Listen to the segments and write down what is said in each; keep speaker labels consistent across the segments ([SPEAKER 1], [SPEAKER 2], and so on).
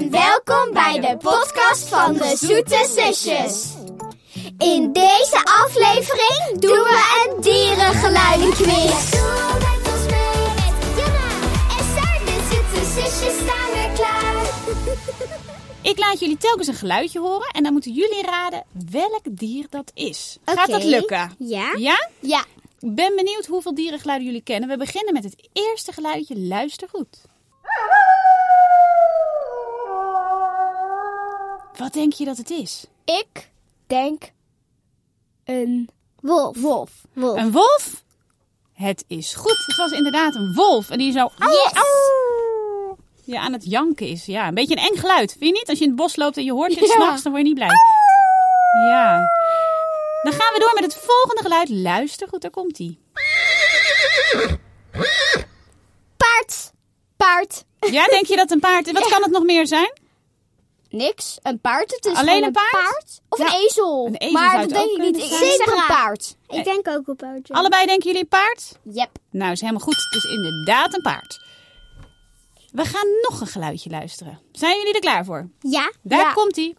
[SPEAKER 1] welkom bij de podcast van de Zoete Zusjes. In deze aflevering doen we een dierengeluidenquiz. Doe met ons mee met Jana en Saar, de Zoete Zusjes staan weer klaar.
[SPEAKER 2] Ik laat jullie telkens een geluidje horen en dan moeten jullie raden welk dier dat is. Gaat
[SPEAKER 1] Oké.
[SPEAKER 2] dat lukken?
[SPEAKER 1] Ja.
[SPEAKER 2] Ja?
[SPEAKER 1] Ja,
[SPEAKER 2] Ik ben benieuwd hoeveel dierengeluiden jullie kennen. We beginnen met het eerste geluidje. Luister goed. Wat denk je dat het is?
[SPEAKER 1] ik denk een wolf. Wolf. wolf.
[SPEAKER 2] Een wolf? Het is goed. Het was inderdaad een wolf. En die zo au,
[SPEAKER 1] Yes.
[SPEAKER 2] au, ja, aan het janken is. Ja, een beetje een eng geluid. Vind je niet? Als je in het bos loopt en je hoort dit
[SPEAKER 1] Ja.
[SPEAKER 2] s'nachts, dan word je niet blij. Ja. Dan gaan we door met het volgende geluid. Luister goed, daar komt ie.
[SPEAKER 1] Paard. Paard.
[SPEAKER 2] Ja, denk je dat een paard... Wat kan het nog meer zijn?
[SPEAKER 1] Niks. Een paard. Het is
[SPEAKER 2] Alleen
[SPEAKER 1] gewoon
[SPEAKER 2] een paard?
[SPEAKER 1] Of een ezel.
[SPEAKER 2] Een ezel
[SPEAKER 1] maar
[SPEAKER 2] zou
[SPEAKER 1] dat
[SPEAKER 2] het
[SPEAKER 1] denk
[SPEAKER 2] ook
[SPEAKER 1] ik niet. Ik
[SPEAKER 2] kunnen
[SPEAKER 1] zeg
[SPEAKER 2] zijn.
[SPEAKER 1] een paard.
[SPEAKER 3] Ik denk ook op auto.
[SPEAKER 2] Allebei denken jullie een paard?
[SPEAKER 1] Yep.
[SPEAKER 2] Nou, is helemaal goed. Het is inderdaad een paard. We gaan nog een geluidje luisteren. Zijn jullie er klaar voor?
[SPEAKER 3] Ja.
[SPEAKER 2] Daar
[SPEAKER 1] Ja.
[SPEAKER 2] komt hij.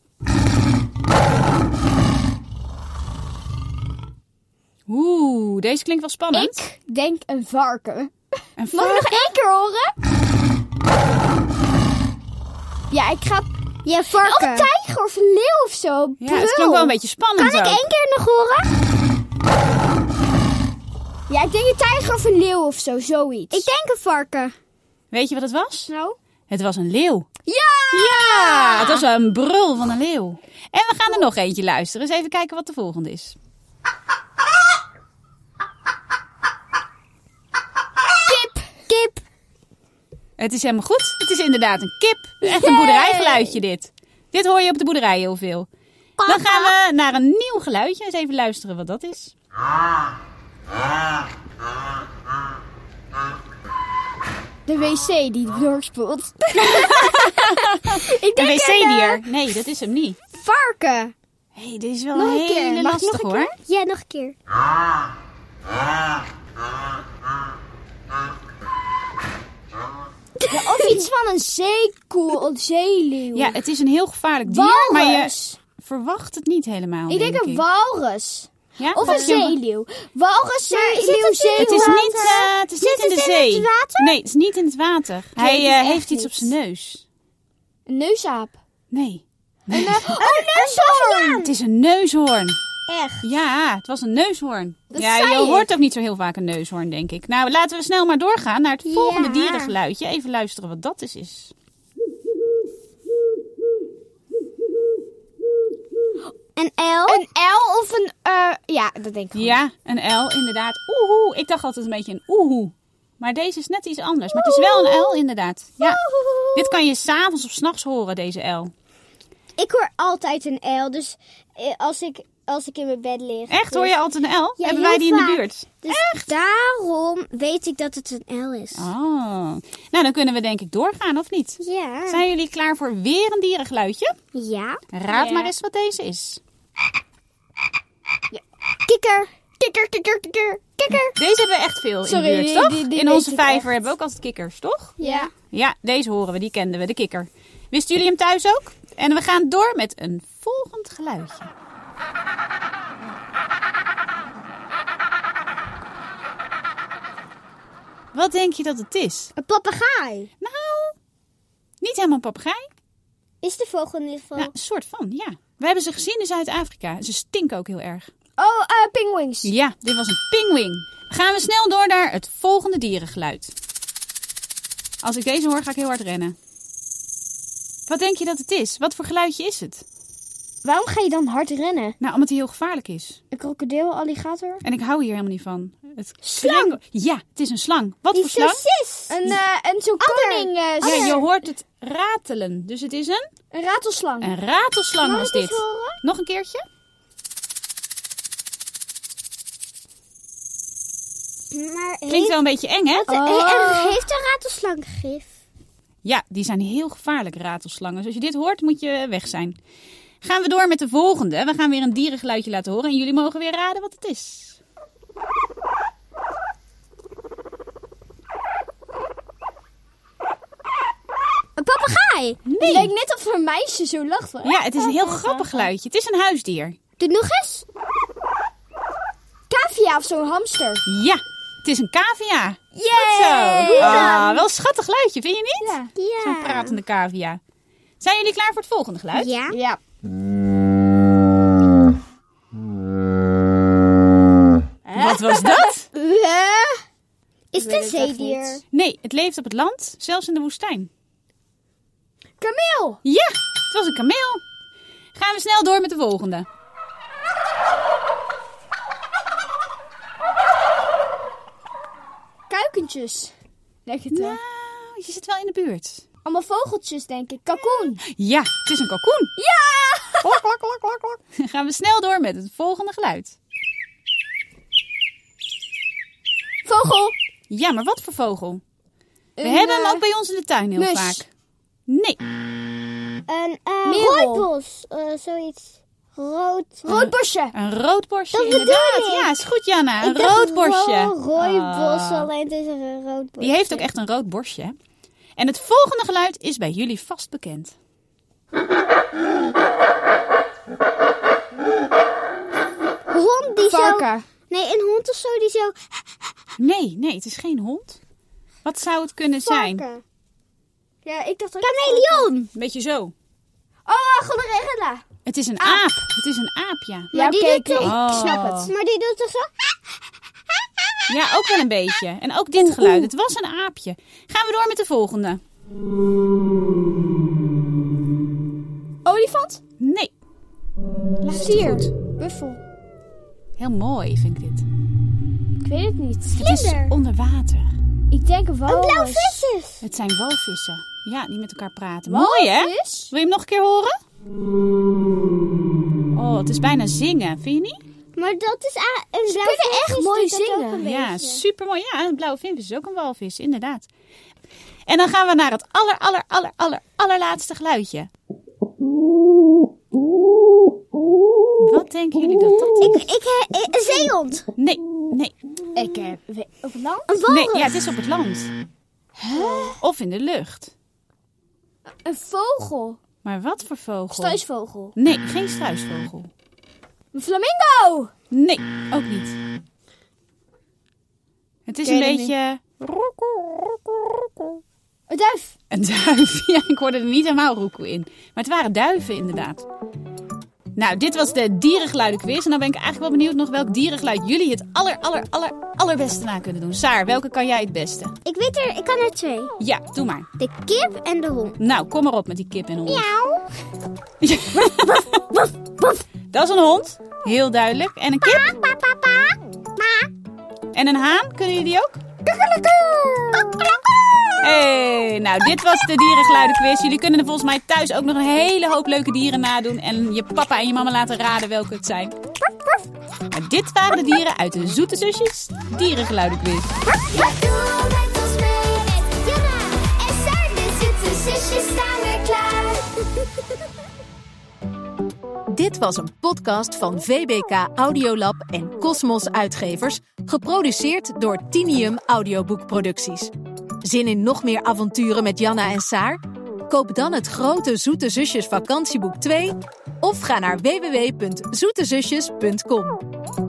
[SPEAKER 2] Oeh, deze klinkt wel spannend.
[SPEAKER 1] Ik denk een varken.
[SPEAKER 2] Een
[SPEAKER 1] Mag ik nog één keer horen? Ja, ik ga...
[SPEAKER 3] Ja,
[SPEAKER 1] Of
[SPEAKER 3] varken.
[SPEAKER 1] een tijger of een leeuw of zo.
[SPEAKER 2] Ja, het klinkt wel een beetje spannend
[SPEAKER 1] Kan ik
[SPEAKER 2] ook.
[SPEAKER 1] één keer nog horen? Ja, ik denk een tijger of een leeuw of zo. Zoiets.
[SPEAKER 3] Ik denk een varken.
[SPEAKER 2] Weet je wat het was?
[SPEAKER 1] Nou?
[SPEAKER 2] Het was een leeuw.
[SPEAKER 1] Ja!
[SPEAKER 2] Ja, het was een brul van een leeuw. En we gaan er nog eentje luisteren. Eens even kijken wat de volgende is.
[SPEAKER 1] Kip. Kip.
[SPEAKER 2] Het is helemaal goed. Het is inderdaad een kip. Echt een boerderijgeluidje dit. Dit hoor je op de boerderij heel veel. Dan gaan we naar een nieuw geluidje. Eens even luisteren wat dat is.
[SPEAKER 1] De wc die doorspoelt. ik
[SPEAKER 2] Een
[SPEAKER 1] denk
[SPEAKER 2] wc-dier. Nee, dat is hem niet.
[SPEAKER 1] varken.
[SPEAKER 2] Hé, eh, hey, dit is wel
[SPEAKER 3] Nog een
[SPEAKER 2] een
[SPEAKER 3] keer.
[SPEAKER 2] hele
[SPEAKER 3] Mag ik
[SPEAKER 2] lastig
[SPEAKER 3] nog een
[SPEAKER 2] hoor.
[SPEAKER 3] Ja, nog een keer.
[SPEAKER 1] Of iets van een zeekoe of zeeleeuw.
[SPEAKER 2] Ja, het is een heel gevaarlijk dier, maar je
[SPEAKER 1] walrus.
[SPEAKER 2] verwacht het niet helemaal.
[SPEAKER 1] ik denk een walrus.
[SPEAKER 2] Ja?
[SPEAKER 1] Of een zeeleeuw. Walrus, zeeleeuw, zeeleeuw.
[SPEAKER 2] Het is niet, eh, het is niet in de
[SPEAKER 3] het in
[SPEAKER 2] zee.
[SPEAKER 3] het water?
[SPEAKER 2] Nee, het is niet in het water. Hij
[SPEAKER 1] het is
[SPEAKER 2] eh,
[SPEAKER 1] echt
[SPEAKER 2] heeft iets op
[SPEAKER 1] niet.
[SPEAKER 2] zijn neus.
[SPEAKER 1] Een neusaap.
[SPEAKER 2] Nee.
[SPEAKER 1] Oh, een neushoorn.
[SPEAKER 2] Het is een neushoorn.
[SPEAKER 3] Echt.
[SPEAKER 2] Ja, het was een neushoorn.
[SPEAKER 1] Dat
[SPEAKER 2] ja,
[SPEAKER 1] zei
[SPEAKER 2] je
[SPEAKER 1] ik.
[SPEAKER 2] hoort ook niet zo heel vaak een neushoorn, denk ik. Nou, laten we snel maar doorgaan naar het volgende
[SPEAKER 3] Ja. Oh.
[SPEAKER 2] dierengeluidje. Even luisteren wat dat is. is.
[SPEAKER 3] Een L.
[SPEAKER 1] Een L of een... eh, ja, dat denk ik wel.
[SPEAKER 2] Ja, een L, inderdaad. Oehoe. Ik dacht altijd een beetje een oehoe. Maar deze is net iets anders. Maar het is wel een L, inderdaad. Ja. Dit kan je s'avonds of s'nachts horen, deze L.
[SPEAKER 3] Ik hoor altijd een L. Dus eh, als ik, als ik in mijn bed lig.
[SPEAKER 2] Echt, hoor je altijd een L?
[SPEAKER 3] Ja,
[SPEAKER 2] Hebben
[SPEAKER 3] heel
[SPEAKER 2] wij die in de
[SPEAKER 3] vaak.
[SPEAKER 2] buurt?
[SPEAKER 3] Dus daarom weet ik dat het een L is.
[SPEAKER 2] Oh. Nou, dan kunnen we denk ik doorgaan, of niet?
[SPEAKER 3] Ja.
[SPEAKER 2] Zijn jullie klaar voor weer een dierengeluidje?
[SPEAKER 3] Ja.
[SPEAKER 2] Raad
[SPEAKER 1] Ja.
[SPEAKER 2] maar eens wat deze is.
[SPEAKER 3] Kikker.
[SPEAKER 1] Kikker, kikker, kikker, kikker.
[SPEAKER 2] Deze hebben we echt veel
[SPEAKER 1] Sorry,
[SPEAKER 2] in de
[SPEAKER 1] die-
[SPEAKER 2] buurt, toch?
[SPEAKER 1] die- die
[SPEAKER 2] in
[SPEAKER 1] weet
[SPEAKER 2] onze
[SPEAKER 1] ik
[SPEAKER 2] vijver
[SPEAKER 1] echt.
[SPEAKER 2] hebben we ook altijd kikkers, toch?
[SPEAKER 1] Ja.
[SPEAKER 2] Ja, deze horen we, die kenden we, de kikker. Wisten jullie hem thuis ook? En we gaan door met een volgend geluidje. Wat denk je dat het is?
[SPEAKER 3] Een papegaai.
[SPEAKER 2] Nou, niet helemaal een papegaai.
[SPEAKER 3] Is de vogel in ieder geval.
[SPEAKER 2] Nou, een soort van, ja. We hebben ze gezien in Zuid-Afrika. Ze stinken ook heel erg.
[SPEAKER 1] Oh, eh pinguïns.
[SPEAKER 2] Ja, dit was een pinguïn. Gaan we snel door naar het volgende dierengeluid. Als ik deze hoor, ga ik heel hard rennen. Wat denk je dat het is? Wat voor geluidje is het?
[SPEAKER 1] Waarom ga je dan hard rennen?
[SPEAKER 2] Nou, omdat hij heel gevaarlijk is.
[SPEAKER 1] Een krokodil, alligator?
[SPEAKER 2] En ik hou hier helemaal niet van. Het slang? Ja, het is een slang. Wat
[SPEAKER 3] Die
[SPEAKER 2] voor slang? Oh
[SPEAKER 3] sis.
[SPEAKER 1] Een, eh een zo'n
[SPEAKER 3] Adder.
[SPEAKER 1] koning... eh,
[SPEAKER 3] Oh,
[SPEAKER 1] zo-
[SPEAKER 2] Ja, je hoort het ratelen. Dus het is een,
[SPEAKER 1] Een ratelslang.
[SPEAKER 2] een ratelslang was
[SPEAKER 1] ik eens
[SPEAKER 2] dit. Nog een keertje?
[SPEAKER 3] Maar
[SPEAKER 2] Klinkt
[SPEAKER 3] heeft,
[SPEAKER 2] wel een beetje eng, hè?
[SPEAKER 3] eh,
[SPEAKER 1] Oh.
[SPEAKER 3] eh, heeft een ratelslang gif?
[SPEAKER 2] Ja, die zijn heel gevaarlijk, ratelslangen. Dus als je dit hoort, moet je weg zijn. Gaan we door met de volgende. We gaan weer een dierengeluidje laten horen. En jullie mogen weer raden wat het is.
[SPEAKER 3] Een papegaai.
[SPEAKER 1] mij. Het leek net of een meisje zo lachte.
[SPEAKER 2] Ja, het is een heel grappig geluidje. Het is een huisdier.
[SPEAKER 1] Doe nog eens. Cavia of zo'n hamster.
[SPEAKER 2] Ja, het is een cavia.
[SPEAKER 1] Yay!
[SPEAKER 2] Zo.
[SPEAKER 1] Hoe
[SPEAKER 2] Ah,
[SPEAKER 1] dan?
[SPEAKER 2] wel een schattig geluidje, vind je niet?
[SPEAKER 1] Ja.
[SPEAKER 2] Zo'n pratende cavia. Zijn jullie klaar voor het volgende geluid?
[SPEAKER 3] Ja.
[SPEAKER 1] Ja.
[SPEAKER 2] Wat was dat?
[SPEAKER 3] Is het een zeedier?
[SPEAKER 1] zeedier?
[SPEAKER 2] Nee, het leeft op het land, zelfs in de woestijn.
[SPEAKER 1] Kameel.
[SPEAKER 2] Ja, het was een kameel. Gaan we snel door met de volgende.
[SPEAKER 1] Kuikentjes. Leg het
[SPEAKER 2] Nou, je zit wel in de buurt.
[SPEAKER 1] Allemaal vogeltjes, denk ik. Kalkoen.
[SPEAKER 2] Ja, het is een kalkoen.
[SPEAKER 1] Ja!
[SPEAKER 2] Klok, klok, klok, klok, klok. Gaan we snel door met het volgende geluid.
[SPEAKER 1] Vogel. eh,
[SPEAKER 2] Ja, maar wat voor vogel? We hebben hem ook bij ons in de tuin heel
[SPEAKER 1] mus.
[SPEAKER 2] vaak. Nee,
[SPEAKER 3] Een
[SPEAKER 1] Merel.
[SPEAKER 3] eh, rooibos, eh, zoiets. Rood.
[SPEAKER 1] Rood bosje.
[SPEAKER 2] een roodborstje
[SPEAKER 3] Dat bedoel
[SPEAKER 2] inderdaad.
[SPEAKER 3] ik.
[SPEAKER 2] Ja, is goed Jana,
[SPEAKER 3] Ik
[SPEAKER 2] een
[SPEAKER 3] dacht
[SPEAKER 2] roodborstje.
[SPEAKER 3] ro- Rooibos,
[SPEAKER 2] Ah.
[SPEAKER 3] alleen het is er een rood
[SPEAKER 2] Die heeft ook echt een rood borstje. hè? En het volgende geluid is bij jullie vast bekend.
[SPEAKER 3] hond die zo...
[SPEAKER 1] Varken.
[SPEAKER 3] Nee, een hond of zo die zo...
[SPEAKER 2] Nee, nee, het is geen hond. Wat zou het kunnen zijn?
[SPEAKER 3] Varken.
[SPEAKER 1] Ja, ik dacht ook...
[SPEAKER 3] Chameleon.
[SPEAKER 2] Een beetje zo.
[SPEAKER 1] Oh, gonorella.
[SPEAKER 2] Het is een aap. Het is een aap, ja.
[SPEAKER 1] Ja,
[SPEAKER 3] die
[SPEAKER 1] oké,
[SPEAKER 3] doet
[SPEAKER 1] oké.
[SPEAKER 3] toch-
[SPEAKER 2] Oh.
[SPEAKER 3] Maar die doet toch zo...
[SPEAKER 2] Ja, ook wel een beetje. En ook dit geluid. Het was een aapje. Gaan we door met de volgende.
[SPEAKER 1] Olifant.
[SPEAKER 2] Nee,
[SPEAKER 1] Stier. Buffel.
[SPEAKER 2] heel mooi vind ik dit.
[SPEAKER 1] Ik weet het niet.
[SPEAKER 2] Het is
[SPEAKER 3] Vlinder.
[SPEAKER 2] onder water.
[SPEAKER 1] Ik denk wel.
[SPEAKER 3] Een blauw visjes.
[SPEAKER 2] Het zijn walvissen. Ja, die met elkaar praten. Mooi hè?
[SPEAKER 1] Walvis?
[SPEAKER 2] Wil je hem nog een keer horen? Oh, het is bijna zingen, vind je niet?
[SPEAKER 3] Maar dat is a- een blauw
[SPEAKER 1] kunnen
[SPEAKER 3] visjes
[SPEAKER 1] echt
[SPEAKER 3] doet
[SPEAKER 1] mooi
[SPEAKER 3] dat ook
[SPEAKER 1] zingen.
[SPEAKER 3] een
[SPEAKER 2] Ja,
[SPEAKER 3] beetje.
[SPEAKER 2] supermooi. Ja, een blauwe vinvis is ook een walvis, inderdaad. En dan gaan we naar het aller, aller, aller, aller, allerlaatste geluidje. Wat denken jullie dat dat is?
[SPEAKER 3] Ik, ik, he- eh, een zeehond.
[SPEAKER 2] Nee, nee,
[SPEAKER 1] Ik
[SPEAKER 3] eh,
[SPEAKER 1] heb... Op het land?
[SPEAKER 3] Een walrus.
[SPEAKER 2] nee. Ja, het is op het land. Of in de lucht.
[SPEAKER 1] Een vogel.
[SPEAKER 2] Maar wat voor vogel?
[SPEAKER 1] Struisvogel.
[SPEAKER 2] Nee, geen struisvogel.
[SPEAKER 1] Een flamingo.
[SPEAKER 2] Nee, ook niet. Het is
[SPEAKER 1] Ken
[SPEAKER 2] een
[SPEAKER 1] je hem
[SPEAKER 2] beetje
[SPEAKER 1] Een duif.
[SPEAKER 2] een duif. Ja, ik hoorde er niet helemaal roekoe in. Maar het waren duiven inderdaad. Nou, dit was de dierengeluidenquiz. En dan ben ik eigenlijk wel benieuwd nog welk dierengeluid jullie het aller, aller, aller, allerbeste na kunnen doen. Saar, welke kan jij het beste?
[SPEAKER 3] Ik weet er, ik kan er twee.
[SPEAKER 2] Ja, doe maar.
[SPEAKER 3] De kip en de hond.
[SPEAKER 2] Nou, kom maar op met die kip en hond.
[SPEAKER 3] Miauw.
[SPEAKER 2] Dat is een hond, heel duidelijk. En een kip
[SPEAKER 3] Pa, pa, pa, pa. Ma.
[SPEAKER 2] en een haan, kunnen jullie die ook?
[SPEAKER 3] Kakkelakkoe.
[SPEAKER 2] Hey, nou dit was de dierengeluidenquiz. Jullie kunnen er volgens mij thuis ook nog een hele hoop leuke dieren nadoen. En je papa en je mama laten raden welke het zijn. Maar dit waren de dieren uit de Zoete Zusjes Dierengeluidenquiz.
[SPEAKER 3] Ja, doe met ons mee met Jana en Saar. De zoete zusjes staan weer klaar.
[SPEAKER 4] Dit was een podcast van VBK Audiolab en Cosmos Uitgevers, geproduceerd door Tinium Audioboekproducties. Zin in nog meer avonturen met Janna en Saar? Koop dan het grote Zoete Zusjes vakantieboek 2 of ga naar www.zoetezusjes.com.